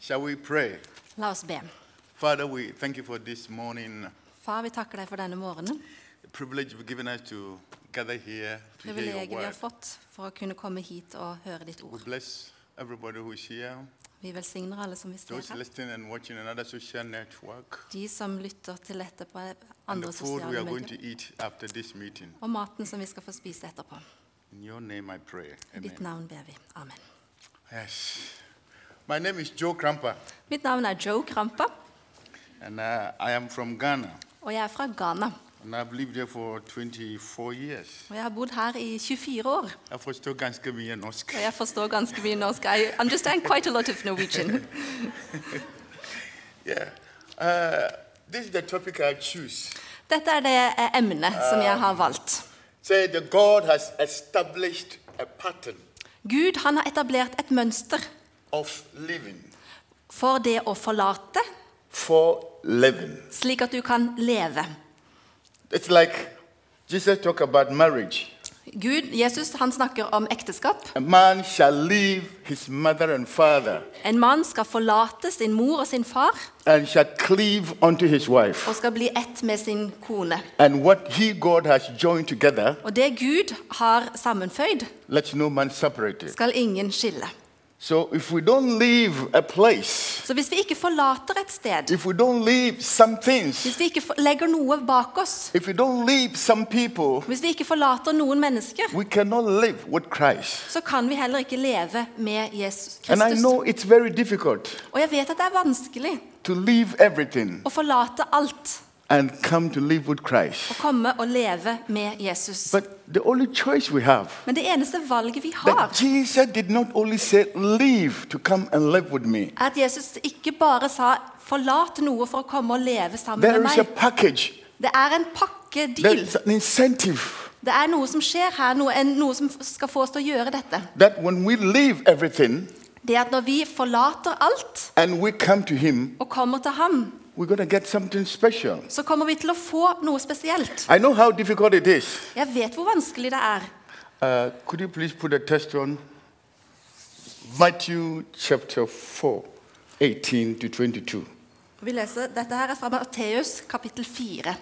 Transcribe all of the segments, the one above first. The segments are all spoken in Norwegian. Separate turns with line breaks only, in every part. Shall we pray?
La oss be.
Father, we thank you for this morning,
Far, vi takker deg for denne morgenen.
the privilege you've given us to gather here to hear your
Privilegiet vi
word.
har fått for å kunne komme hit og høre ditt
We
ord.
bless everybody who is here,
Vi velsigner alle som vil se
those
her.
listening and watching another social network,
De som lytter til dette på
and the
andre
food we are
sosiale
going
medier.
to eat after this meeting.
Og maten som vi skal få spise etterpå.
In your name I pray.
I ditt
Amen.
navn ber vi. Amen.
Yes. My name is Joe Kramper,
Mitt navn er Joe Krampa,
and uh, I am from Ghana,
og jeg er fra Ghana.
and I've lived here for 24 years.
Og jeg har bodd her i 24 år.
I was still Ganske mye norsk.
Og jeg forstår ganske mye norsk. I understand quite a lot of Norwegian.
Yeah. Uh, this is the topic I choose.
Dette er det eh, emnet som jeg har valgt.
Say the God has established a pattern
Gud han har etablert et mønster
of living
for det å forlate
for living.
slik at du kan leve.
It's like Jesus talked about marriage.
Gud, Jesus han snakker om ekteskap.
A man shall leave his mother and father
En mann skal forlate sin mor og sin far
and shall cleave unto his wife.
og skal bli ett med sin kone.
And what he, God, has joined together,
Og det Gud har sammenføyd,
let no man separate it.
skal ingen skille.
So if we don't leave a place,
Så hvis vi ikke forlater et sted,
if we don't leave some
hvis
things,
vi ikke for- legger noe bak oss,
if we don't leave some people,
hvis vi ikke forlater noen mennesker,
we cannot live with Christ.
så kan vi heller ikke leve med Jesus
And I
Kristus.
know it's very difficult
Og jeg vet at det er vanskelig
to leave everything
å forlate alt
and come to live with
og
Christ.
komme og leve med Jesus.
But the only choice we have
Men det eneste valget vi har,
that Jesus did not only say leave to come and live with me.
at Jesus ikke bare sa 'forlat noe for å komme og leve sammen med
There is a
meg'.
package.
Det er en
There
pakkedeal.
is an incentive
Det er noe som skjer her, noe, en, noe som skal få oss til å gjøre dette.
that when we leave everything
Det at når vi forlater alt
and we come to Him,
og kommer til ham,
we're going to get something special.
så kommer vi til å få noe spesielt.
I know how difficult it is.
Jeg vet hvor vanskelig det er.
Uh, could you please put a test on Matthew chapter 4, 18 to 22?
Vi leser, Dette her er fra Matteus kapittel 4.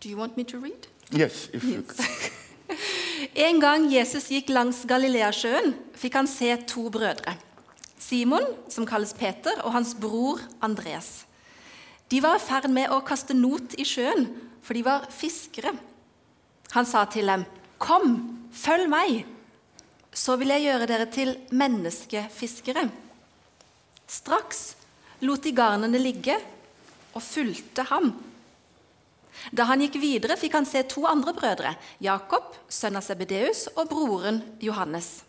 Do you want me to read?
Yes, if you
En gang Jesus gikk langs Galileasjøen, fikk han se to brødre. Simon, som kalles Peter, og hans bror Andreas. De var i ferd med å kaste not i sjøen, for de var fiskere. Han sa til dem, 'Kom, følg meg, så vil jeg gjøre dere til menneskefiskere.' Straks lot de garnene ligge og fulgte ham. Da han gikk videre, fikk han se to andre brødre, Jakob, sønn av Sebedeus, og broren Johannes.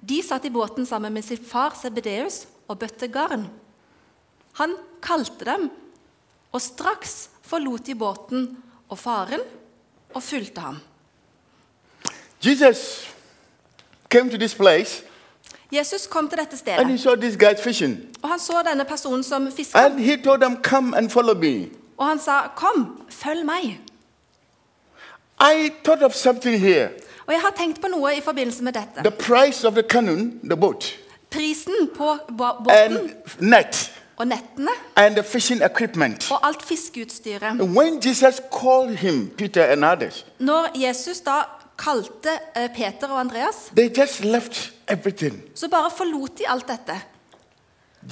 De satt i båten sammen med sin far Sebedeus og bøtte garn. Han kalte dem, og straks forlot de båten og faren og fulgte ham.
Jesus came to this place
Jesus kom til dette
and he
stedet,
saw these guys fishing.
og han så denne personen som fisker,
And he told them, Come and follow me.
og han sa, 'Kom, følg meg'.
I thought of something here.
Og jeg har tenkt på noe i forbindelse med dette.
The price of the canoe, the boat,
Prisen på bå- båten
and net,
og nettene
and the fishing equipment.
og alt fiskeutstyret.
And when Jesus called him, Peter and others,
Når Jesus da kalte eh, Peter og Andreas,
they just left everything.
så bare forlot de alt dette.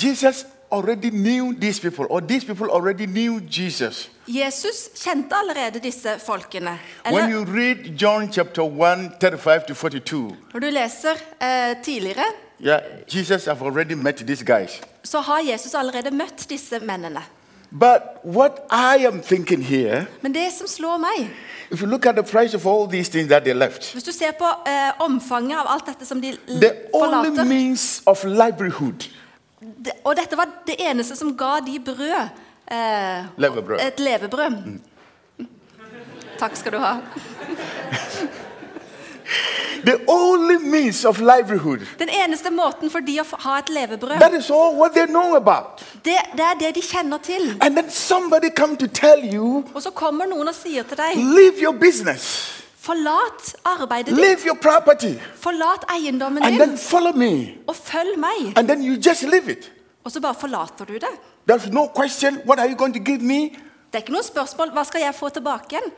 Jesus already knew these people, or these people already knew Jesus.
Jesus kjente allerede disse folkene.
When
Eller
you read John chapter 1, 35 to 42,
når du leser eh, tidligere,
yeah, Jesus have already met these guys.
så har Jesus allerede møtt disse mennene.
But what I am thinking here,
Men det som slår meg,
if you look at the price of all these things that they left,
hvis du ser på eh, omfanget av alt dette som de l-
the only
forlater
means of livelihood,
det- Og dette var det eneste som ga de brød. eh,
Levebrød. Mm.
Et levebrød. Takk skal du ha.
the only means of livelihood,
Den eneste måten for de å få- ha et levebrød
that is all what they know about.
Det, det er det de kjenner til.
And then somebody come to tell you,
Og så kommer noen og sier til deg
leave your business,
Forlat arbeidet ditt,
Leave your property
forlat eiendommen
and
din,
then follow me.
og følg meg.
And then you just leave it.
Og så bare forlater du det.
There's no question, what are you going to give me?
Det er ikke noe spørsmål hva skal jeg få tilbake igjen.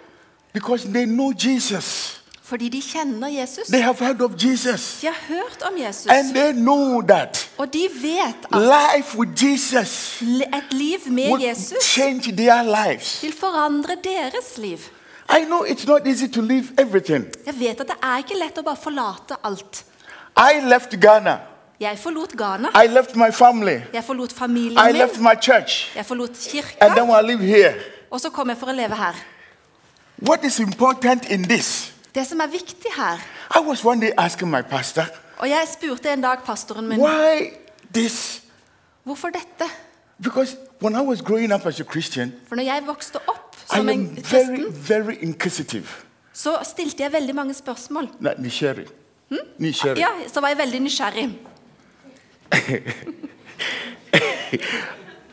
Because they know Jesus.
Fordi de kjenner Jesus.
They have heard of Jesus.
De har hørt om Jesus.
And they know that
Og de vet at
life with Jesus
le- et liv
will
med Jesus
change their lives.
vil forandre deres liv.
I know it's not easy to leave everything.
Jeg vet at det er ikke lett å bare forlate alt.
I left Ghana.
Jeg forlot Ghana.
I left my family.
Jeg forlot
I
familien
left
min.
my church.
Jeg forlot
And then
kirka.
I live here.
Og så kom jeg for å leve her.
What is important in this?
Det som er viktig her
I was one day asking my pastor,
Og jeg spurte en dag pastoren min
why this?
hvorfor dette.
Because when I was growing up as a Christian,
For når jeg vokste opp
I
som en
am very,
kristen,
very inquisitive.
så stilte jeg veldig mange spørsmål.
Not Nisheri. Nisheri.
Ja, Så var jeg veldig nysgjerrig.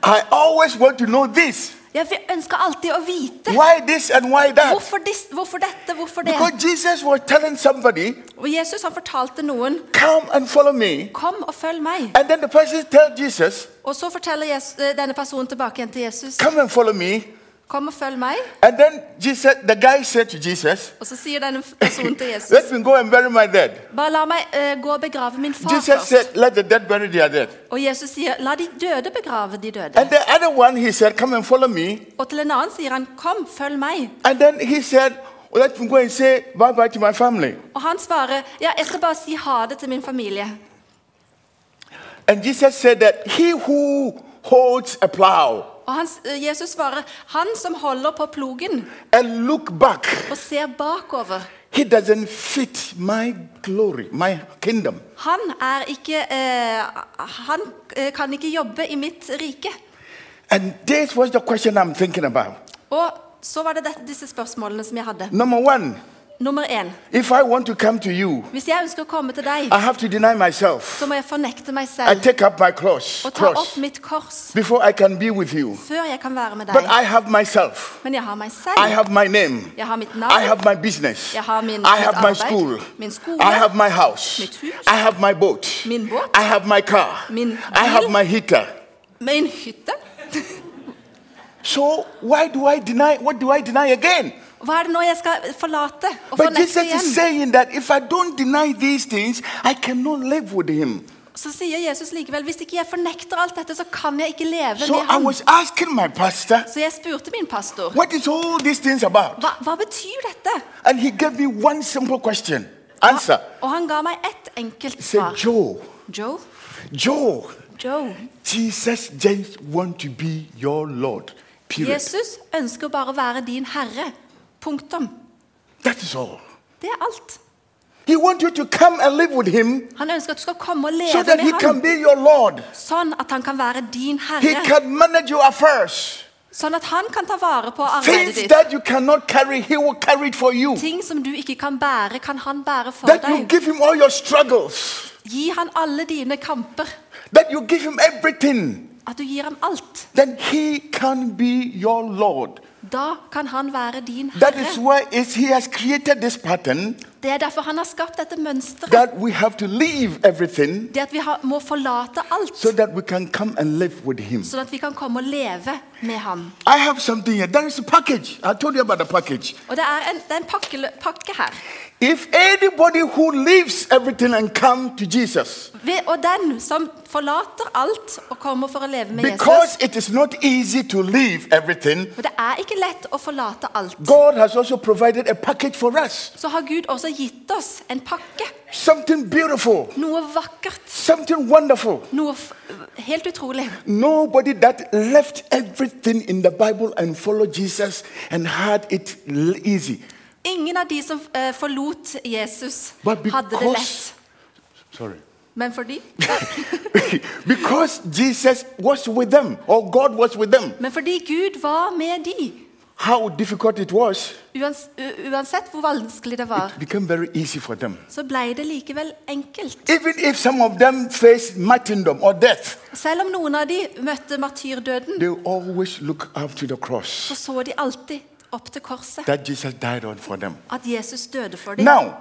I always want to know this.
Jeg ønska alltid å vite
Why this and why that?
hvorfor, dis, hvorfor dette, hvorfor det.
Because Jesus was telling somebody,
Og Jesus han fortalte noen
come and follow me.
Kom og følg meg.
And then the person tell Jesus,
Og så forteller Jes- eh, denne personen tilbake igjen til Jesus.
come and follow me.
Kom og følg meg.
And then Jesus, the guy said to Jesus,
Og så sier denne personen til Jesus
let me go and bury my dead.
Bare la meg eh, gå og begrave min far
Jesus
først.
said, let the dead bury their dead.
Og Jesus sier, la de døde begrave de døde.
And the other one, he said, come and follow me.
Og til en annen sier han, kom, følg meg.
And then he said, well, let me go and say bye-bye to my family.
Og han svarer, ja, jeg skal bare si ha det til min familie.
And Jesus said that he who holds a plow
Og hans, eh, Jesus svarer, han som holder på plogen
and look back,
og ser bakover,
he doesn't fit my glory, my kingdom.
han er ikke, eh, han eh, kan ikke jobbe i mitt rike.
And this was the question I'm thinking about.
Og så var det dette, disse spørsmålene som jeg hadde.
Number one,
Nummer én,
if I want to come to you,
hvis jeg ønsker å komme til deg,
I have to deny myself.
så må jeg fornekte meg
I
selv
take up my cross,
og ta opp
cross
mitt kors
before I can be with you.
før jeg kan være med
But
deg.
I have myself.
Men jeg har meg
I
selv.
have my name.
Jeg har mitt
I
navn.
have my business.
Jeg har min-
I have
mitt
my
arbeid,
school.
min skole,
I have my house.
mitt hus,
I have my boat.
min båt,
I have my car.
min
I have
bil.
my heater.
Med en hytte.
So why do I deny? What do I deny again?
Hva er det nå jeg skal forlate og
But Jesus
fornekte
is
igjen?
saying that if I don't deny these things, I cannot live with him.
Så sier Jesus likevel hvis ikke jeg fornekter alt dette, så kan jeg ikke leve
So
med
I
ham.
was asking my pastor,
Så jeg spurte min pastor
what is all these things about?
hva, hva betyr dette?
And he gave me one simple question. Answer.
Og han ga meg ett enkelt
He said,
svar.
Joe,
Joe?
Joe,
Joe.
Jesus just want to be your Lord. Period.
Jesus ønsker bare å være din herre. Punktum.
That is all.
Det er alt.
He wants you to come and live with him
Han ønsker at du skal komme og
so
leve
that he
med
can
ham.
be your Lord.
Sånn at han kan være din
He
herre.
can manage your affairs.
Sånn at han kan ta vare på arbeidet
Things
ditt.
that you cannot carry, he will carry it for you.
Ting som du ikke kan bære, kan han bære for
That you
deg.
give him all your struggles.
Gi han alle dine kamper.
That you give him everything.
At du gir ham alt.
Then he can be your Lord.
Da kan han være din
That is
herre.
why it's, he has created this pattern
Det er derfor han har skapt dette mønsteret.
that we have to leave everything
Det at vi har, må forlate alt,
so that we can come and live with him.
sånn at vi kan komme og leve med ham.
I have something here. There is a package. I told you about the package.
Og det er en, det er en pakke, pakke her.
If anybody who leaves everything and come to Jesus,
Ved- Og den som forlater alt og kommer for å leve med Jesus
because it is not easy to leave everything,
For det er ikke lett å forlate alt.
God has also provided a package for us.
Så har Gud også gitt oss en pakke.
Something beautiful,
Noe vakkert.
something wonderful.
Noe f helt utrolig.
Nobody that left everything in the Bible and followed Jesus and had it l- easy.
Ingen av de som eh, forlot Jesus,
But
hadde det lett.
because, sorry,
Men fordi,
because Jesus was with them or God was with them,
men fordi Gud var med de,
how difficult it was,
uans, u- uansett hvor vanskelig det var,
it became very easy for them.
så ble det likevel enkelt.
Even if some of them faced martyrdom or death,
Selv om noen av de møtte martyrdøden,
they always look up to the cross.
så så de alltid opp til korset.
that Jesus died on for them.
At Jesus døde for dem.
Now,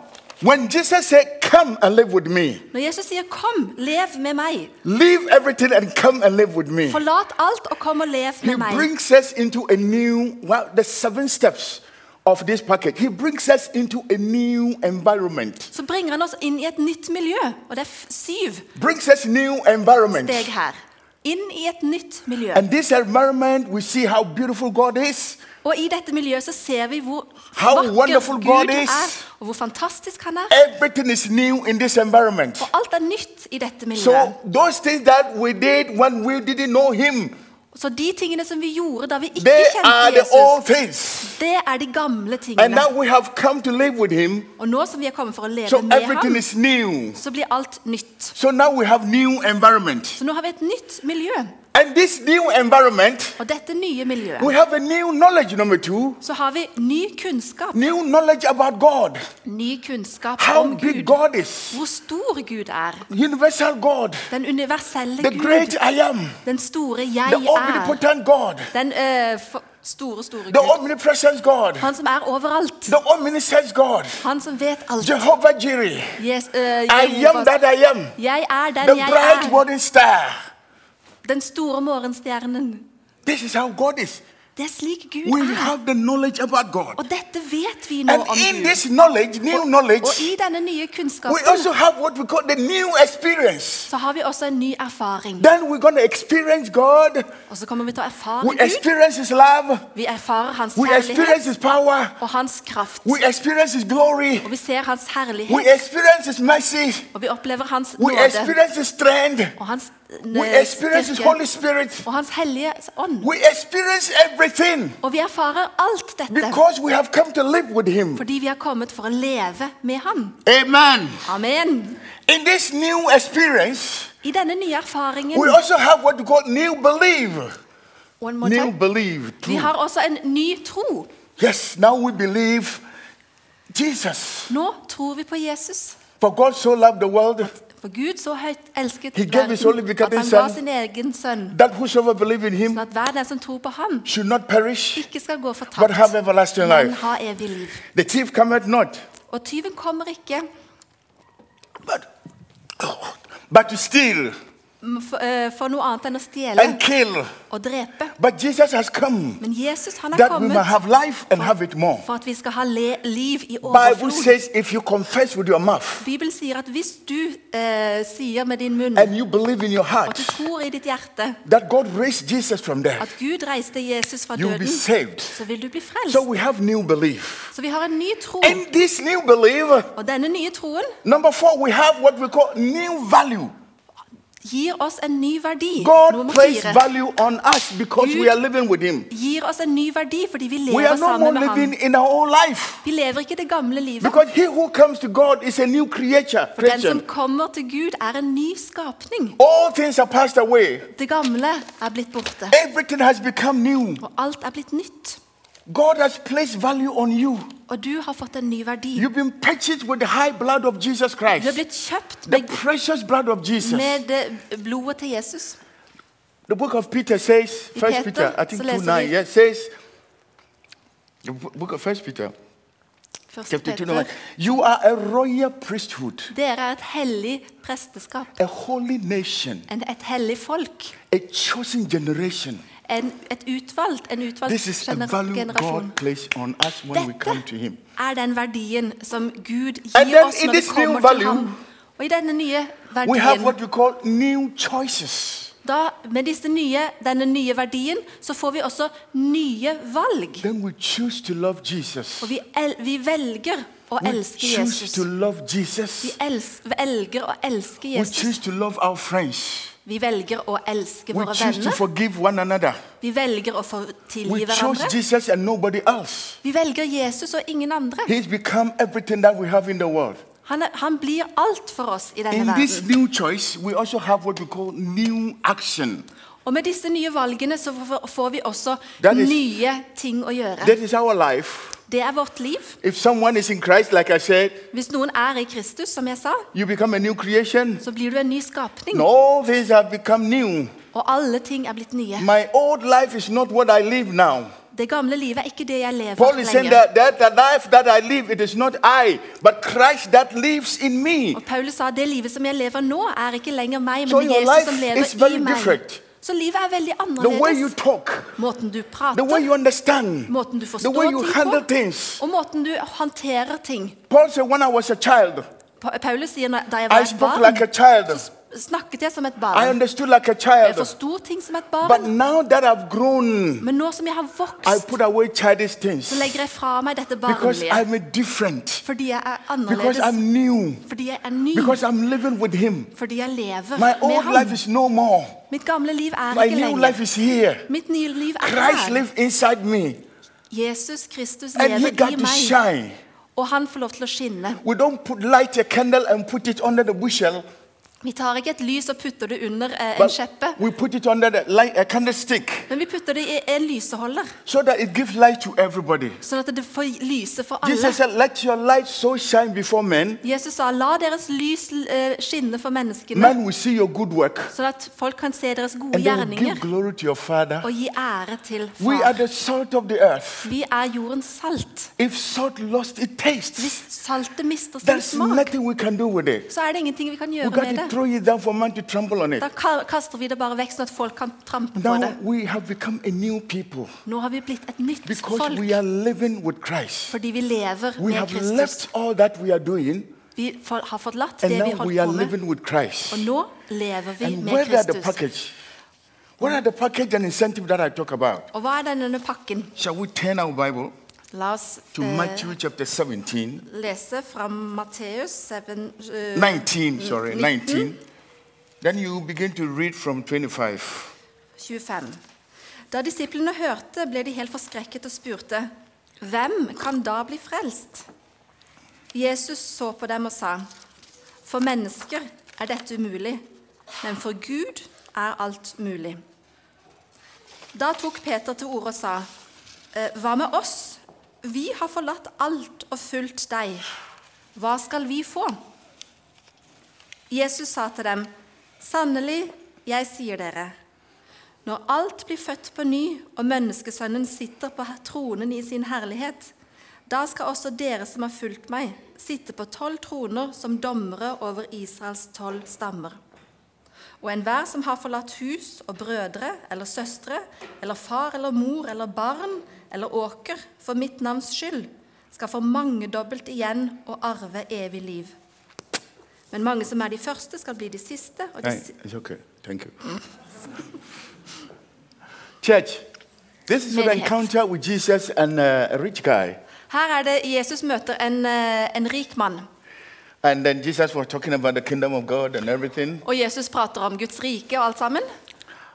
when Jesus said, Come and live with me,
Når Jesus sier 'Kom, lev med meg',
leave everything and come and live with me,
forlat alt og kom og lev
he
med meg,
brings us into a new, well, the seven steps of this package. He brings us into a new environment,
så bringer han oss inn i et nytt miljø. Og det er f- syv
brings us new environment.
steg her. Inn i et nytt miljø.
And this environment, we see how beautiful God is.
Og i dette miljøet så ser vi hvor
How
vakker
wonderful God
Gud er,
is.
og hvor fantastisk han er.
Everything is new in this environment.
Og alt er nytt i dette miljøet.
So those things that we did when we didn't know Him,
Så de tingene som vi gjorde da vi ikke
they are the
kjente Jesus,
old things.
det er de gamle
And
tingene.
now we have come to live with Him.
Og nå som vi er kommet for å leve
So
med
everything
ham,
is new.
så blir alt nytt.
So now we have new environment.
Så nå har vi et nytt miljø.
And this new environment,
Og dette nye miljøet,
we have a new knowledge, number two.
så har vi ny kunnskap.
New knowledge about God.
Ny kunnskap
How
om
big
Gud.
God is.
Hvor stor Gud er.
Universal God.
Den universelle
The
Gud.
great I am.
Den store
The
jeg er.
omnipotent God.
Den eh, for, store, store
The
Gud.
omnipresent God.
Han som er overalt.
The omniscient God.
Han som vet alt.
Jehovah Jireh.
Yes, eh,
I am
Jehovas-
that I am.
jeg er
The
den jeg
bright
er.
morning star.
Den store morgenstjernen.
This is how God is.
Det er slik Gud
We
er.
have the knowledge about God.
Og dette vet vi nå
And
om
in
Gud.
this knowledge, new knowledge,
Og i denne nye
we
kunnskapen
also have what we call the new experience.
så har vi også en ny erfaring.
Then we're going to experience God.
Og så kommer vi til å erfare
We
Gud.
experience His love.
Vi erfarer Hans
We experience
herlighet
His power.
og Hans kraft.
We experience His glory.
Og vi ser Hans
We
herlighet,
experience His mercy.
og vi opplever Hans
We
nåde.
experience His strength.
Og Hans eh,
We experience His Holy
styrke.
Spirit.
Og Hans hellige ånd.
We experience everything
Og vi erfarer alt dette
because we have come to live with Him.
fordi vi har kommet for å leve med Han.
Amen.
Amen.
In this new experience,
I denne nye erfaringen
we also have what we call new belief.
One more
New
time.
belief.
Vi har også en ny tro.
Yes, now we believe Jesus.
Nå tror vi på Jesus.
For God so loved the world
For Gud så høyt elsket
He gave his only
at
begotten
han ga
son.
sin egen sønn,
that whosoever believes in
sånn
Him
at hver den som tror på ham,
should not perish
ikke skal gå
but
fortapt,
have everlasting
men
life.
ha evig liv.
The thief cometh not,
Og tyven kommer ikke
but, but to steal
mm, for, eh, for noe annet enn å stjele
and kill.
og drepe.
But Jesus has come
Men Jesus han er
that we may
kommet
have life and have it more.
for at vi skal ha le liv i
Bible
overflod.
says if you confess with your mouth
Bibelen sier at hvis du eh, sier med din munn
and you believe in your
at du
heart
tror i ditt hjerte
that God raised Jesus from death,
at Gud reiste Jesus fra
you will be
døden,
saved.
så vil du bli frelst.
So we have new belief.
Så vi har en ny tro.
In this new belief,
Og denne nye troen
number four, we have what we call new value.
gir oss en ny verdi.
God
Nummer
placed
fire.
value on us because we are living with Him.
Gir oss en ny verdi fordi vi
We
lever
are no more
sammen med ham.
living in our own life.
Vi lever ikke det gamle livet.
Because he who comes to God is a new creature.
Den som
Creation.
kommer til Gud, er en ny skapning.
All things are passed away.
Det gamle er blitt borte,
Everything has become new.
og alt er blitt nytt.
God has placed value on you.
Og du har fått en ny verdi.
You've been purchased with the high blood of Jesus
Du er
Christ.
blitt kjøpt
The
med,
precious blood of Jesus.
med det blodet til Jesus.
The book of Peter says,
I
First
Peter,
Peter, I think
så leser
2 9,
vi-
yeah, says, the bo- book of First Peter,
Første
chapter 2,
Peter.
9, you are a royal priesthood,
Dere er et hellig presteskap,
a holy nation,
en, et hellig folk,
a chosen generation.
en, et utvalgt, en utvalgt
This is a
gener
value
generasjon.
God placed on us when we come to Him.
Dette er den verdien som Gud
And
gir
then
oss
in
når vi
this new
kommer
value,
til ham. Og i denne nye
We have
verdien,
what we call new choices.
da, med disse nye, denne nye verdien, så får vi også nye valg.
Then we choose to love Jesus.
Og vi, el vi velger å
We
elske
choose
Jesus.
to love
Vi
Jesus.
els velger å elske
We
Jesus.
choose to love our friends.
Vi velger å elske
We
våre
choose to
venner.
forgive one another.
Vi velger å få
We
tilgi
chose
hverandre.
Jesus and nobody else.
Vi velger Jesus og ingen andre.
He's become everything that we have in the world.
Han, er, han blir alt for oss i denne
In this
verden.
new choice, we also have what we call new action.
Og med disse nye valgene så får- får vi også
That is-
nye ting å gjøre.
That is our life.
Det er vårt liv.
If someone is in Christ, like I said,
Hvis noen er i Kristus, som jeg sa,
you become a new creation.
så blir du en ny skapning.
And all things have become new.
Og alle ting er blitt nye.
My old life is not what I live now.
Det gamle livet er ikke det jeg lever
Paul is saying
lenger.
that, that the life that I live, it is not I, but Christ that lives in me.
Og Paulus sa det livet som jeg lever nå, er ikke lenger meg,
So
men
your
Jesus som
life is
lever
very
i meg.
different.
Så livet er veldig
The way you
annerledes.
talk,
Måten du
the way
prater,
you understand,
måten du
the
forstår
way you
ting
handle
på,
things.
og måten du håndterer ting.
Paul said, When I was a child,
Pa- Paulus sier "Når- da jeg
I
var et
spoke
barn,
like a child,
snakket jeg som et
I
barn.
understood like a
Jeg
child.
forsto ting som et
But
barn.
now that I've grown,
Men nå som jeg har
I
vokst,
put away childish things
så legger jeg fra meg dette
because
barnlige.
I'm different,
Fordi jeg er
because
annerledes.
I'm new,
Fordi jeg er ny.
because I'm living with Him.
Fordi jeg lever
My
med
old life
ham.
is no more,
Mitt gamle liv er
my
ikke
new
lenger.
life is here.
Mitt nye liv er
Christ
her.
lives inside me,
Jesus Kristus
and He
lever
got
i
to
meg.
shine.
Og han får lov til å skinne.
We don't put light a candle and put it under the bushel,
Vi tar ikke et lys og putter det under eh, en
but
skjeppe,
we put it under the light, a candlestick
men vi putter det i en lyseholder,
so that it gives light to everybody.
sånn at det får lyse for alle.
Jesus said, Let your light so shine before men,
Jesus sa, la deres lys eh, skinne for menneskene,
men will see your good work,
sånn at folk kan se deres gode
and they will give
gjerninger
glory to your Father.
og gi ære til
We are
Far.
the salt of the earth.
Vi er jordens salt.
If salt lost its
Hvis
taste,
saltet mister sin
there's
smak,
nothing we can do with it.
så er det ingenting vi kan
We
gjøre
got to
med det.
Oh throw it down for man to trample on it.
Da ka- kaster vi det bare vekk, sånn at folk kan trampe på det.
Now we have become a new people
Nå har vi blitt et nytt
because
folk
we are living with Christ.
fordi vi lever
We
med
have
Kristus.
left all that we are doing,
Vi for- har forlatt
and
det vi
now we are
holdt på med,
living with
og
Christ.
nå lever vi
And
med
where are the
Kristus.
package? What are the package and incentive that I talk about?
Og hva er denne pakken?
Shall we turn our Bible
La oss eh,
to Matthew chapter 17,
lese fra Matteus 7 eh,
19, sorry,
nitten.
19. Then you begin to read from 25.
25. Da disiplene hørte, ble de helt forskrekket og spurte, hvem kan da bli frelst? Jesus så på dem og sa, for mennesker er dette umulig, men for Gud er alt mulig. Da tok Peter til orde og sa, «Eh, hva med oss? Vi har forlatt alt og fulgt deg. Hva skal vi få? Jesus sa til dem, sannelig, jeg sier dere, når alt blir født på ny, og menneskesønnen sitter på tronen i sin herlighet, da skal også dere som har fulgt meg, sitte på tolv troner som dommere over Israels tolv stammer. Og enhver som har forlatt hus og brødre eller søstre eller far eller mor eller barn eller åker for mitt navns skyld, skal få mangedobbelt igjen og arve evig liv. Men mange som er de første, skal bli de siste, og de,
Hey,
si-
it's okay. Thank you. Church, this is your
Many
encounter with Jesus and uh, a rich guy.
Her er det Jesus møter en, eh, en rik mann,
And then Jesus was talking about the kingdom of God and everything.
og Jesus prater om Guds rike og alt sammen.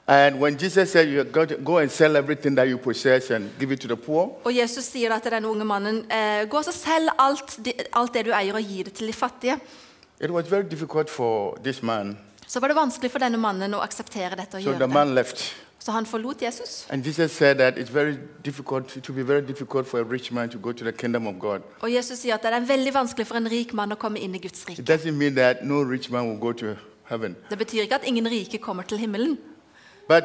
And when Jesus said, you got to go and sell everything that you possess and give it to the poor,
Og Jesus sier da til denne unge mannen, eh, gå og selg alt, de- alt det du eier og gi det til de fattige.
it was very difficult for this man.
Så var det vanskelig for denne mannen å akseptere dette og
So the
gjøre det.
man left.
Så han forlot Jesus.
And Jesus said that it's very difficult, it will be very difficult for a rich man to go to the kingdom of God.
Og Jesus sier at det er veldig vanskelig for en rik mann å komme inn i Guds
It
rike.
doesn't mean that no rich man will go to heaven.
Det betyr ikke at ingen rike kommer til himmelen.
But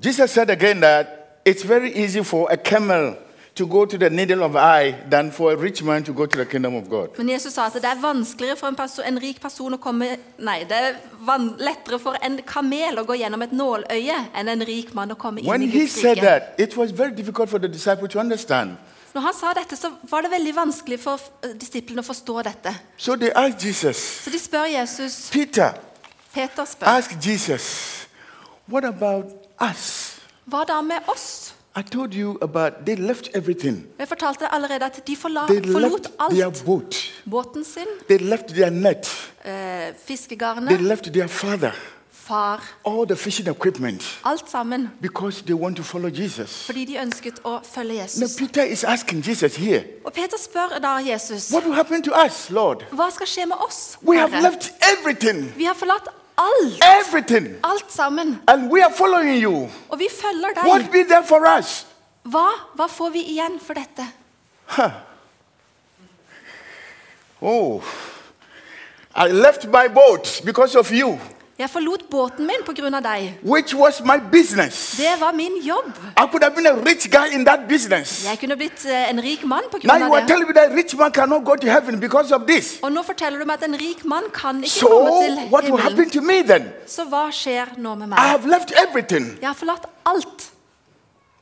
Jesus said again that it's very easy for a camel to go to the needle of eye than for a rich man to go to the kingdom of God.
Men Jesus sa at det er vanskeligere for en, perso en rik person å komme Nei, det er van lettere for en kamel å gå gjennom et nåløye enn en rik mann å komme inn
When
i
he
Guds
said
rike.
that, it was very difficult for the disciple to understand.
Når han sa dette, så var det veldig vanskelig for eh, disiplene å forstå dette.
So they asked Jesus.
Så de spør Jesus.
Peter
Peter spør.
asked Jesus, What about us?
Hva da med oss?
I told you about they left everything.
Jeg fortalte deg allerede at de forla
They
forlot
left their
alt.
boat.
Båten sin,
They left their net.
eh,
They
fiskegarnet,
left their father.
far.
All the fishing equipment
Alt sammen
because they want to follow Jesus.
fordi de ønsket å følge
Now,
Jesus.
Peter is asking Jesus here,
Og Peter spør da Jesus,
What will happen to us, Lord?
hva skal skje med oss?
We have
Herre?
left everything,
Vi har forlatt alt,
everything,
alt sammen,
and we are following you.
og vi følger
What
deg.
be there for us?
Hva, hva får vi igjen for dette?
Oh, I left my boat because of you.
Jeg forlot båten min pga. deg.
which was my business.
Det var min jobb.
I could have been a rich guy in that business.
Jeg kunne blitt eh, en rik mann pga.
Now you are
det.
telling me that a rich man cannot go to heaven because of this.
Og nå forteller du meg at en rik mann kan ikke
So
komme til
what will happen Ah.
himmelen.
to me then?
Så hva skjer nå med
I
meg?
have left everything.
Jeg har forlatt alt.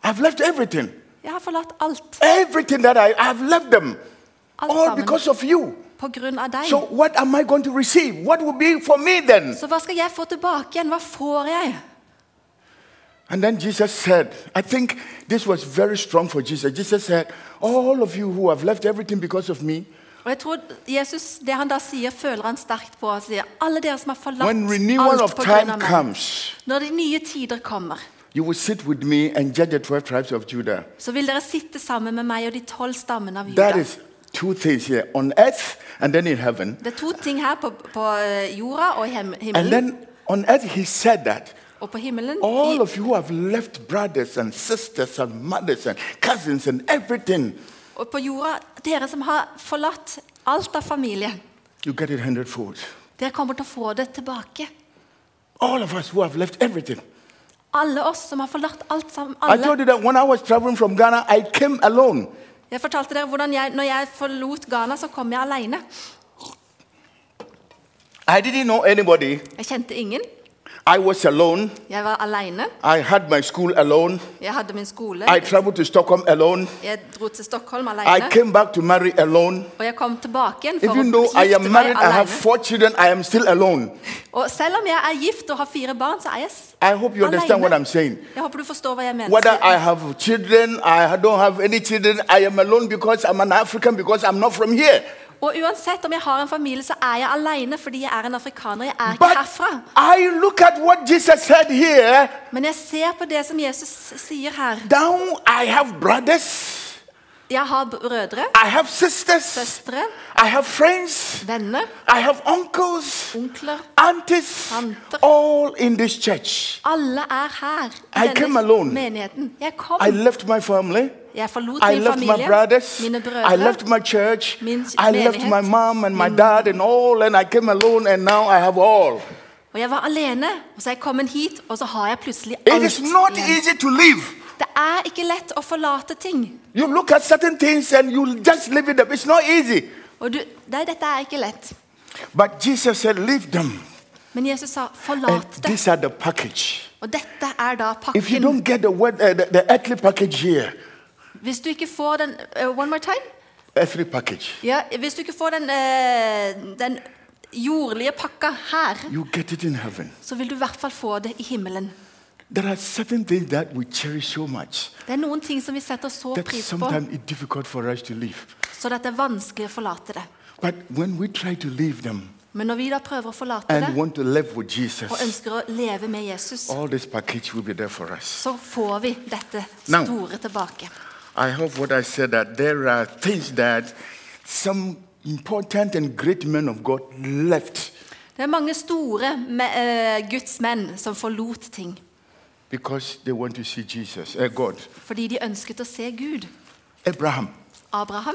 I've left everything.
Jeg har forlatt alt.
Everything that I have left them.
Alt
All
sammen
Ah, because of you.
pga. deg.
So what am I going to receive? What will be for me then?
Så hva skal jeg få tilbake igjen? Hva får jeg?
And then Jesus said, I think this was very strong for Jesus. Jesus said, All of you who have left everything because of me,
Og jeg tror Jesus, Det han da sier, føler han sterkt på. Han sier, Alle dere som har forlatt
when renewal
alt
of
på grunn
time
av meg.
comes,
Når de nye tider kommer,
you will sit with me and judge the 12 tribes of Judah.
så vil dere sitte sammen med meg og de tolv stammene av Juda.
That is two things here on earth and then in heaven.
Det er to ting her på, på eh, jorda og i hem-
And
himmelen.
then on earth, he said that
Og på himmelen
all
i,
of you who have left brothers and sisters and mothers and cousins and everything,
og på jorda, dere som har forlatt alt av familie,
you get it hundredfold.
dere kommer til å få det tilbake.
All of us who have left everything.
Alle oss som har forlatt alt sammen.
I
Alle.
told you that when I was traveling from Ghana, I came alone.
Jeg fortalte dere hvordan jeg, når jeg forlot Ghana, så kom jeg alene.
I didn't know anybody.
Jeg kjente ingen.
I was alone.
Jeg var alene.
I had my school alone.
Jeg hadde min skole.
I traveled to Stockholm alone.
Jeg dro til Stockholm
I
alene.
came back to marry alone.
Og jeg kom tilbake igjen for
Even
å
though I
gifte
am
meg
married, I
alene.
have four children, I am still alone.
Og selv om jeg er gift og har fire barn, så er jeg s-
I hope you understand what I'm saying.
Jeg håper du forstår hva jeg mener.
Whether I have children, I don't have any children, I am alone because I'm an African, because I'm not from here.
Og uansett om jeg har en familie, så er jeg alene fordi jeg er en afrikaner. Jeg er ikke
But
herfra.
I look at what Jesus said here.
Men jeg ser på det som Jesus sier her.
Now I have brothers,
Jeg har brødre,
I have sisters,
søstre,
I have friends,
venner,
I have uncles,
onkler.
aunties,
Tanter.
all in this church.
Alle er her.
I came alone.
menigheten. Jeg kom.
I left my family.
jeg forlot
I
min
left
familie,
my brothers.
mine
I
brødre.
left my church.
Min
I left
menighet.
my mom and my dad and all, and I came alone, and now I have all.
Og jeg var alene, og så er jeg kommet hit, og så har jeg plutselig
It
alt
is not easy to leave.
Det er ikke lett å forlate ting.
You look at certain things and you just leave it up. It's not easy.
Og du, nei, dette er ikke lett.
But Jesus said, Leave them.
Men Jesus sa,
And
forlat det.
these are the package.
Og dette er da
If you
pakken.
don't get the, word, uh, the, the earthly package here,
Hvis du ikke får den eh, One more time?
earthly package,
Ja, hvis du ikke får den, eh, den jordlige pakka her,
you get it in heaven.
så vil du i hvert fall få det i himmelen.
There are certain things that we cherish so much.
Det er noen ting som vi setter så
that
pris på,
sometimes it's difficult for us to leave.
så det er vanskelig å forlate det.
But when we try to leave them
Men når vi da prøver å forlate
and
det,
want to live with
og
Jesus,
ønsker å leve med Jesus,
all this package will be there for us.
så får vi dette
Now.
store tilbake.
I hope what I said that there are things that some important and great men of God left
Det er mange store me- eh, gudsmenn som forlot ting
because they want to see Jesus, eh, God.
fordi de ønsket å se Gud.
Abraham,
Abraham,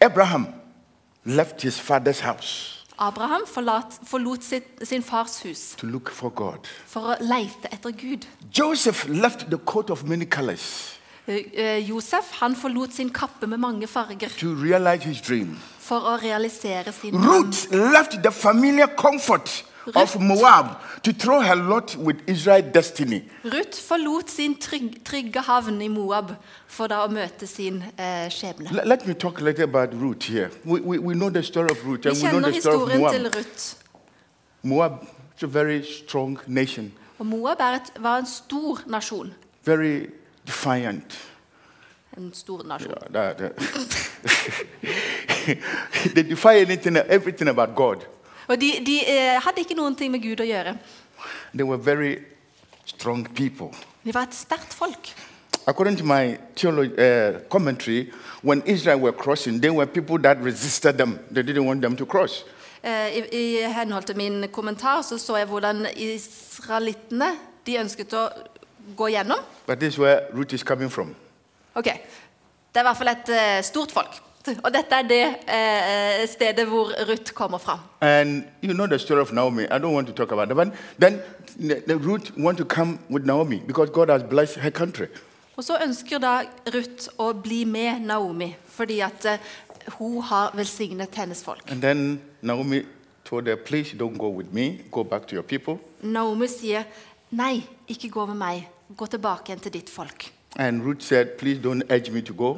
Abraham left his father's house
Abraham forlat, forlot sitt, sin fars hus
to look for God.
for å leite etter Gud.
Joseph left the coat of many colors
Eh, eh, Josef han forlot sin kappe med mange farger
to realize his dream.
for å realisere sin drøm.
Ruth left the familiar comfort of
Ruth.
Moab to throw her lot with Israel's destiny.
Ruth forlot sin trygg, trygge havn i Moab for da å møte sin eh, skjebne.
L- let me talk later about Ruth here. We, we, we know the story of Ruth
Vi
and we know
kjenner
the story of
historien til
Moab.
Ruth.
Moab is a very strong nation,
Og Moab er et, var en stor nasjon.
very defiant.
En stor nasjon.
Yeah, that- that- they defy anything, everything about God.
Og de, de eh, hadde ikke noen ting med Gud å gjøre.
They were very strong people.
De var et sterkt folk.
According to my theology, uh, commentary, when Israel were crossing, there were people that resisted them. They didn't want them to cross.
Eh, I, I henhold til min kommentar så, så jeg hvordan israelittene de ønsket å gå gjennom.
But this is where Ruth is coming from.
Ok, Det er i hvert fall et eh, stort folk. Og dette er det eh, stedet hvor Ruth kommer fra.
And you know the story of Naomi. I don't want to talk about that. But then the, the Ruth want to come with Naomi because God has blessed her country.
Og så ønsker da Ruth å bli med Naomi, fordi at eh, hun har velsignet hennes folk.
And then Naomi told her, please don't go with me. Go back to your people.
Naomi sier, 'Nei, ikke gå med meg. Gå tilbake igjen til ditt folk.'
And Ruth said, please don't urge me to go.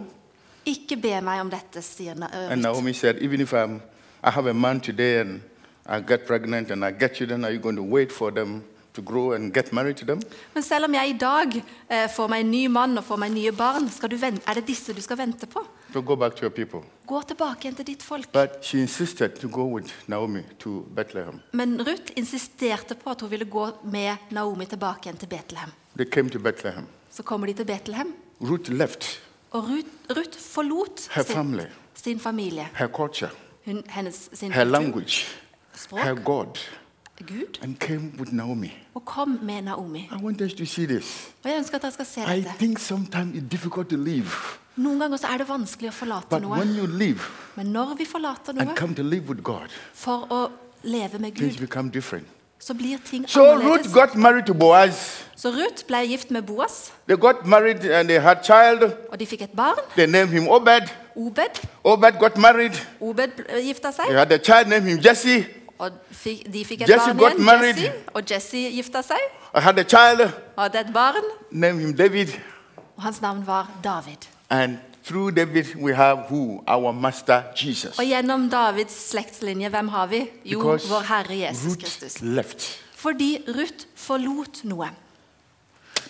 'Ikke be meg om dette', sier Na- eh,
And
Ruth.
Naomi said, even if I'm, I have a man today and I get pregnant and I get children, are you going to wait for them to grow and get married to them?
Men selv om jeg i dag eh, får meg en ny mann og får meg nye barn, skal du vente, er det disse du skal vente på?
So go back to your people.
Gå tilbake igjen til ditt folk.
But she insisted to go with Naomi to Bethlehem.
Men Ruth insisterte på at hun ville gå med Naomi tilbake igjen til Betlehem.
They came to Bethlehem.
Så kommer de til Betlehem,
Ruth left
og Ruth, Ruth forlot
her
sin,
family,
sin familie,
her culture,
hun, hennes, sin
her
kultur,
language, her
språk,
God,
Gud,
and came with Naomi.
og kom med Naomi.
I want us to see this.
Og jeg ønsker at dere skal se
I
dette.
think sometimes it's difficult to leave,
Noen ganger så er det vanskelig å forlate
but
noe,
when you leave
men når vi forlater
and
noe
come to live with God,
for å leve med
things
Gud,
become different.
så blir ting
So Ruth
annerledes.
got married to Boaz.
Så Ruth ble gift med Boas,
They got married and they had child.
og de fikk et barn,
They named him Obed.
Obed.
Obed got married.
Obed ble- gifta
They
seg,
had a child named him Jesse.
og fikk, de fikk et
Jesse got
barn igjen,
married.
Jesse, og Jesse gifta seg,
I had a child,
hadde et barn,
named him David.
og hans navn var David.
And through David, we have who? Our master Jesus.
Og gjennom Davids slektslinje, hvem har vi? Jo, vår Herre Jesus
Ruth
Kristus.
left.
Fordi Ruth forlot noe.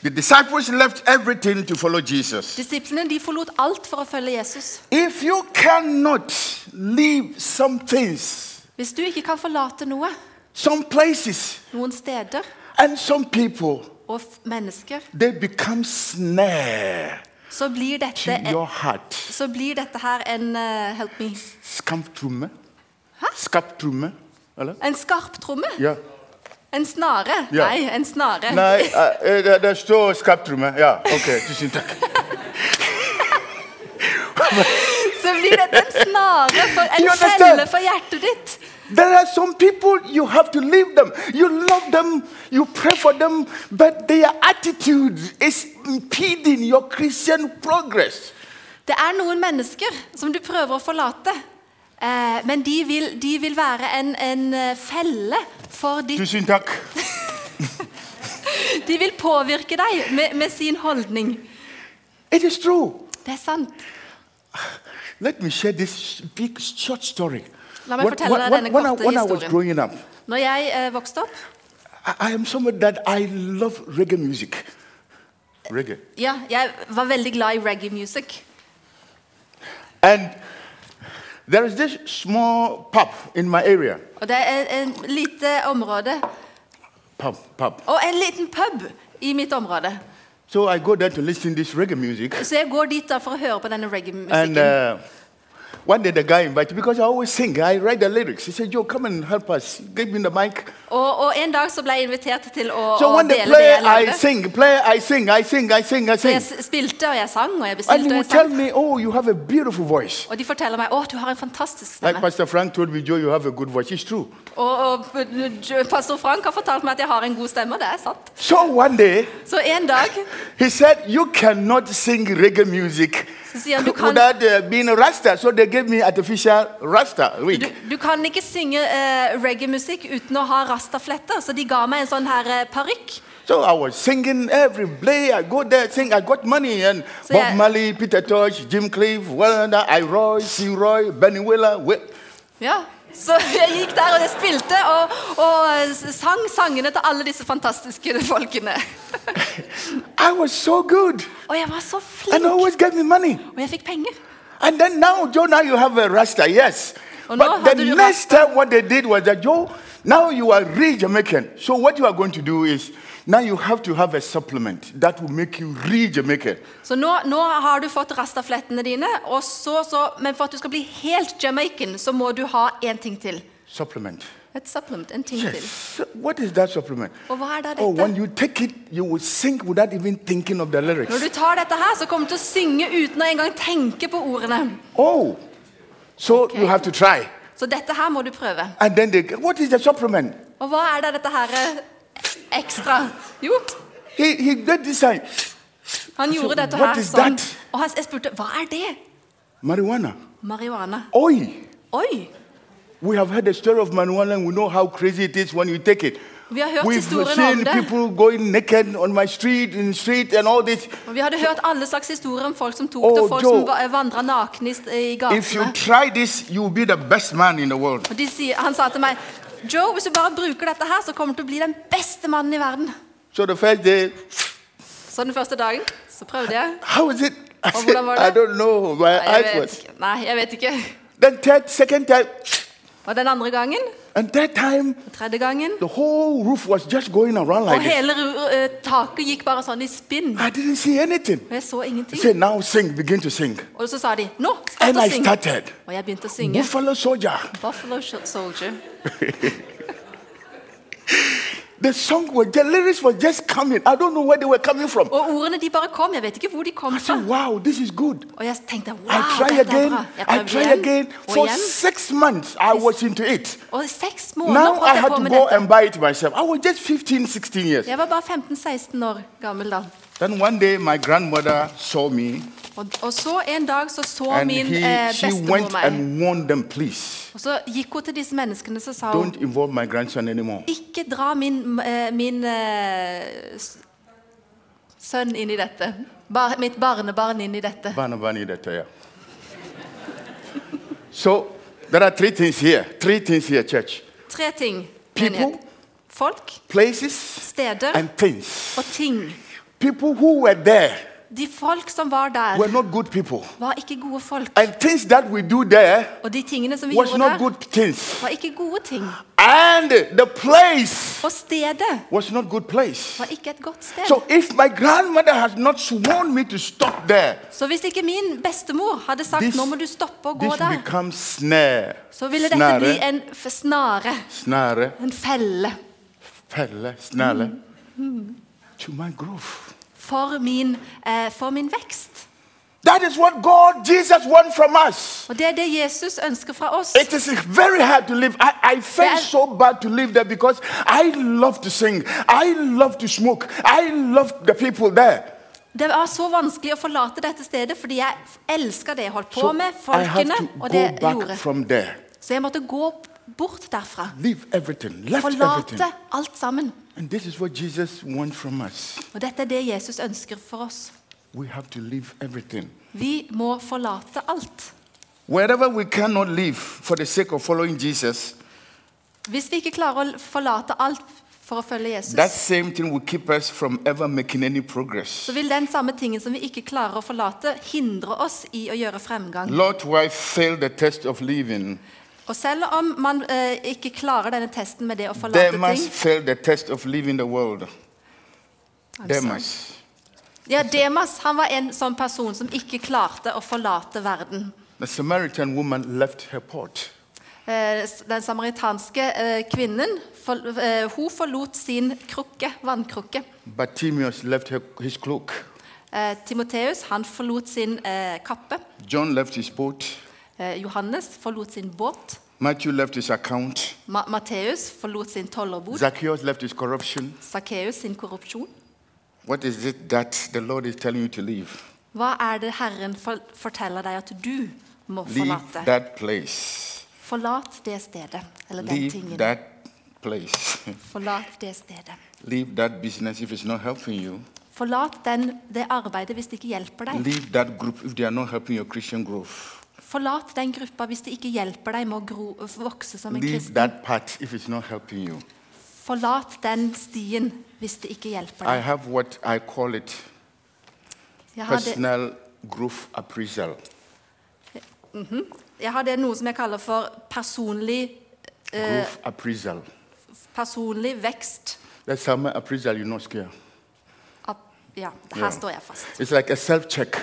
The disciples left everything to follow Jesus.
Disiplene de forlot alt for å følge Jesus.
If you cannot leave some things,
Hvis du ikke kan forlate noe,
some places,
noen steder
and some people,
og f- mennesker,
they become snare
så blir
to
dette,
your heart.
så blir dette her en eh, Help me.
Skamptrumme.
Hæ?
Skaptrumme. Eller?
En skarptromme?
Ja.
En snare?
Ja.
Nei, en snare.
Nei, eh, eh, det står skaptrumme. Ja, ok. Tusen takk.
Så blir dette en snare, for
You
en
understand?
felle for hjertet ditt.
There are some people you have to leave them. You love them, you pray for them, but their attitude is impeding your Christian progress.
Det er noen mennesker som du prøver å forlate, eh, men de vil, de vil være en, en eh, felle for ditt
Tusen takk.
De vil påvirke deg med, med sin holdning.
It is true.
Det er sant.
Let me share this big short story.
Let me fortelle deg denne
when I,
korte
when I was
historien.
growing up,
Når jeg eh, vokste opp
I, I am someone that I love reggae music. Reggae.
Ja, jeg var veldig glad i reggae music.
And there is this small pub in my area.
Og det er et lite område
Pub, pub.
Og en liten pub i mitt område.
So I go there to listen to this reggae music.
Så jeg går dit da for å høre på denne
And
reggae-musikken.
uh, one day the guy invited because I always sing. I write the lyrics. He said, "Yo, come and help us. Give me the mic."
og, og en dag så ble jeg invitert til å,
So
å
when they
dele det
play,
jeg
I
lagde.
sing. Play, I sing. I sing. I sing. I
Så jeg
sing.
s- spilte, og jeg sang, og jeg
And he
bestilte, og
would
jeg
tell
sang.
me, "Oh, you have a beautiful voice."
Og de forteller meg 'Å, du har en fantastisk
Like
stemme'.
Pastor Frank told me, "Joe, you have a good voice." It's true.
Og, og eh, pastor Frank har fortalt meg at jeg har en god stemme, og det er sant.
So one day
Så en dag
he said, "You cannot sing reggae music."
så sier han du kan,
Without uh, being a rasta, so they gave me artificial rasta wig.
du, du kan ikke synge eh, reggae-musikk uten å ha rastafletter, så de ga meg en sånn her eh, parykk.
So I was singing every day. I go there, sing. I got money and
So,
Bob
yeah.
Marley, Peter Tosh, Jim Cliff, Wanda, I Roy, C. Roy, Benny Wheeler. Wi-
Ja. Så jeg gikk der og jeg spilte og, og eh, sang sangene til alle disse fantastiske folkene.
I was so good,
Og jeg var så
and
flink,
always gave me money.
og jeg fikk penger.
And then now, Joe, now you have a rasta, yes.
Oh, no,
but
how
the
do you
next time, what they did was that Joe, now you are real Jamaican. So what you are going to do is now you have to have a supplement that will make you real Jamaican.
Så nå, nå har du fått rastaflettene dine, og så, så, men for at du skal bli helt jamaican, så må du ha én ting til.
Supplement.
Et supplement, en ting
Yes.
til.
So What is that supplement?
Og hva er da
Oh, when
dette?
you take it, you will sing without even thinking of the lyrics.
Når du tar dette her, så kommer du til å synge uten å engang tenke på ordene.
Oh, So
Okay.
you have to try.
Så dette her må du prøve.
And then they get, what is the supplement?
Og hva er da dette her eh, ekstra? Jo,
He, he did this sign,
han gjorde dette
Altså, What
her
is
sånn.
that?
Og han- jeg spurte hva er det?
marijuana.
Marihuana.
Oil.
Oi!
We have heard the story of marijuana and we know how crazy it is when you take it.
Vi har hørt
We've
historien
seen
om det.
people going naked on my street, in the street, and all this.
Og vi hadde hørt alle slags historier om folk som tok
Å,
det, og folk
Oh, Joe.
som va- vandra nakne i st- i
If you
gatene.
try this, you'll be the best man in the world.
Og de sier, han sa til meg Joe, hvis du bare bruker dette her, så kommer du til å bli den beste mannen i verden.
So the first day,
Så den første dagen så prøvde jeg.
how is it? I,
Oh,
said,
what about
I
that?
don't know. My
Nei, jeg
eyes
vet
was.
ikke. Nei, jeg vet ikke.
Then third, second time,
Og den andre gangen,
and third time,
og tredje gangen
the whole roof was just going around
Og
like this.
hele ru- eh, taket gikk bare sånn i spinn.
I didn't see anything.
Og jeg så
He
ingenting.
said, now sing, begin to sing.
Og så sa de 'Nå,
And
start å
I
synge'.
started.
Og jeg begynte å synge.
Buffalo soldier.
Buffalo Sh- Soldier.
The song was, the lyrics were just coming. I don't know where they were coming from.
Og ordene de bare kom. Jeg vet ikke hvor de kom
I
fra.
said, wow, this is good.
Og jeg tenkte Ah. wow,
Altså, I try
dette er
again,
bra. Jeg
I
prøvde
try again.
igjen og
For
igjen.
six months, I was into it.
Og i seks
Now
måneder
I
holdt jeg
had
på
to
med
go
dette.
and buy it myself. I was just 15, 16 years.
Jeg var bare 15-16 år gammel da.
Then one day, my grandmother saw me
Og, og så en dag så så
and
min
he,
eh,
she
bestemor
went
meg.
and warned them, please,
Og så gikk hun til disse menneskene så sa hun
don't involve my grandson anymore.
Ikke dra min, eh, min eh, s- sønn inn i dette. Bar, mitt barnebarn inn i dette.
Bana bani da taya. So there are three things here. Three things here, church.
Tre ting.
People.
menighet. Folk,
Places
steder
and things.
og ting.
People who were there
De folk som var der,
were not good people.
var ikke gode folk.
And things that we do there
Og de tingene som vi
was
gjorde
not
der,
good things.
var ikke gode ting.
And the place
Og stedet
was not good place.
var ikke et godt sted.
So if my grandmother has not sworn me to stop there,
Så hvis ikke min bestemor hadde sagt
This-
'nå må du stoppe og gå
this
der',
becomes snare.
så ville dette bli
Snare,
en f snare.
snare,
En felle
felle, snare. To my growth.
for min, eh, for min vekst.
That is what God, Jesus wants from us.
Og det er det Jesus ønsker fra oss.
It is very hard to live. I, I felt
Yes.
so bad to live there because I love to sing. I love to smoke. I love the people there.
Det var så vanskelig å forlate dette stedet fordi jeg f- elska det jeg holdt på
So
med,
I have
folkene
to
og det
go
jeg
back
gjorde.
from there.
Så jeg måtte gå bort derfra.
Leave everything. Left everything.
Forlate alt sammen.
And this is what Jesus wants from us.
Og dette er det Jesus ønsker for oss.
We have to leave everything.
Vi må forlate alt.
Wherever we cannot live for the sake of following Jesus,
Hvis vi ikke klarer å l- forlate alt for å følge Jesus,
that same thing will keep us from ever making any progress.
så vil den samme tingen som vi ikke klarer å forlate, hindre oss i å gjøre fremgang.
Lot wife failed the test of living.
Og selv om man eh, ikke klarer denne testen med det å forlate
Demas
ting
failed the test of leaving the world.
I'm sorry.
Demas.
Ja, Demas han var en sånn person som ikke klarte å forlate verden.
The Samaritan woman left her port.
Eh, s- Den samaritanske eh, kvinnen for, eh, hun forlot sin krukke, vannkrukke.
Bartimaeus left her, his cloak.
Eh, Timoteus han forlot sin eh, kappe.
John left his boat.
Eh, Johannes forlot sin båt.
Matthew left his account.
Ma Matteus forlot sin tollerbod.
Zacchaeus left his corruption.
Sakkeus sin korrupsjon.
What is it that the Lord is telling you to leave?
Hva er det Herren for forteller deg at du må
Leave
forlate?
that place.
Forlat det stedet, eller den
Leave
tingen.
that place.
Forlat det stedet.
Leave that business if it's not helping you.
Forlat den, det arbeidet hvis det ikke hjelper deg.
Leave that group if they are not helping your Christian growth.
Forlat den gruppa hvis det ikke hjelper deg med å gro, vokse som en
Leave
kristen.
that part if it's not helping you.
Forlat den stien hvis det ikke hjelper
I
deg.
have what I call it
Jeg har, det,
personal growth appraisal.
jeg har det noe som jeg kaller for personlig,
Growth appraisal.
personlig vekst.
That's summer appraisal, you're not scared.
Ap- Ja,
Ja.
her står jeg fast.
It's like a self check.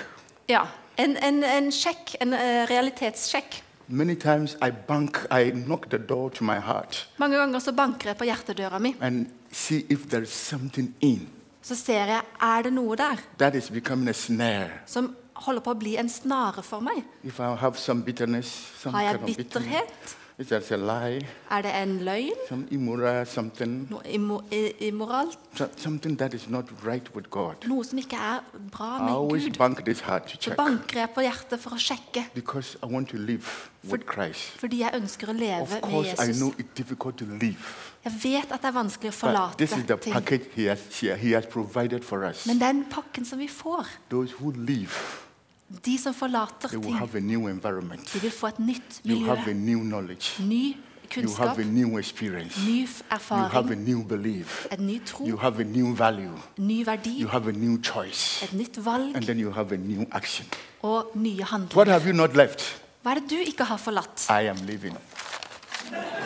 Ja, En, en, en sjekk, en eh, realitetssjekk.
Many times I bank, I knock the door to my heart
Mange ganger så banker jeg på hjertedøra mi.
and see if there's something in
Så ser jeg er det noe der
that is becoming a snare.
som holder på å bli en snare for meg.
If I have some bitterness, some
Har jeg
kind of bitterness,
bitterhet?
it's just a lie,
Er det en løgn?
some immoral something,
Noe immo- i- immoralt?
so- something that is not right with God.
Noe som ikke er bra
I
med
always
Gud?
bank this heart to
Så
check
banker jeg på hjertet for å sjekke,
because I want to live with Christ.
fordi jeg ønsker å leve
Of
med
course, I know
Jesus.
it's difficult to live,
Jeg vet at det er vanskelig å
but
forlate
this is the
ting,
package He has, he- he has provided for us.
men den pakken som vi får,
Those who live,
de som forlater
they will
ting,
have a new environment.
de vil få et nytt
You have a
miljø,
new knowledge.
ny
You have
kunnskap,
a new experience.
ny
You have a
erfaring,
new belief.
en ny
You
tro,
have a new value.
ny verdi,
You have a new choice.
et nytt
And
valg
then you have a new action.
og nye handlinger.
What have you not left?
Hva er det du ikke har forlatt?
I am living.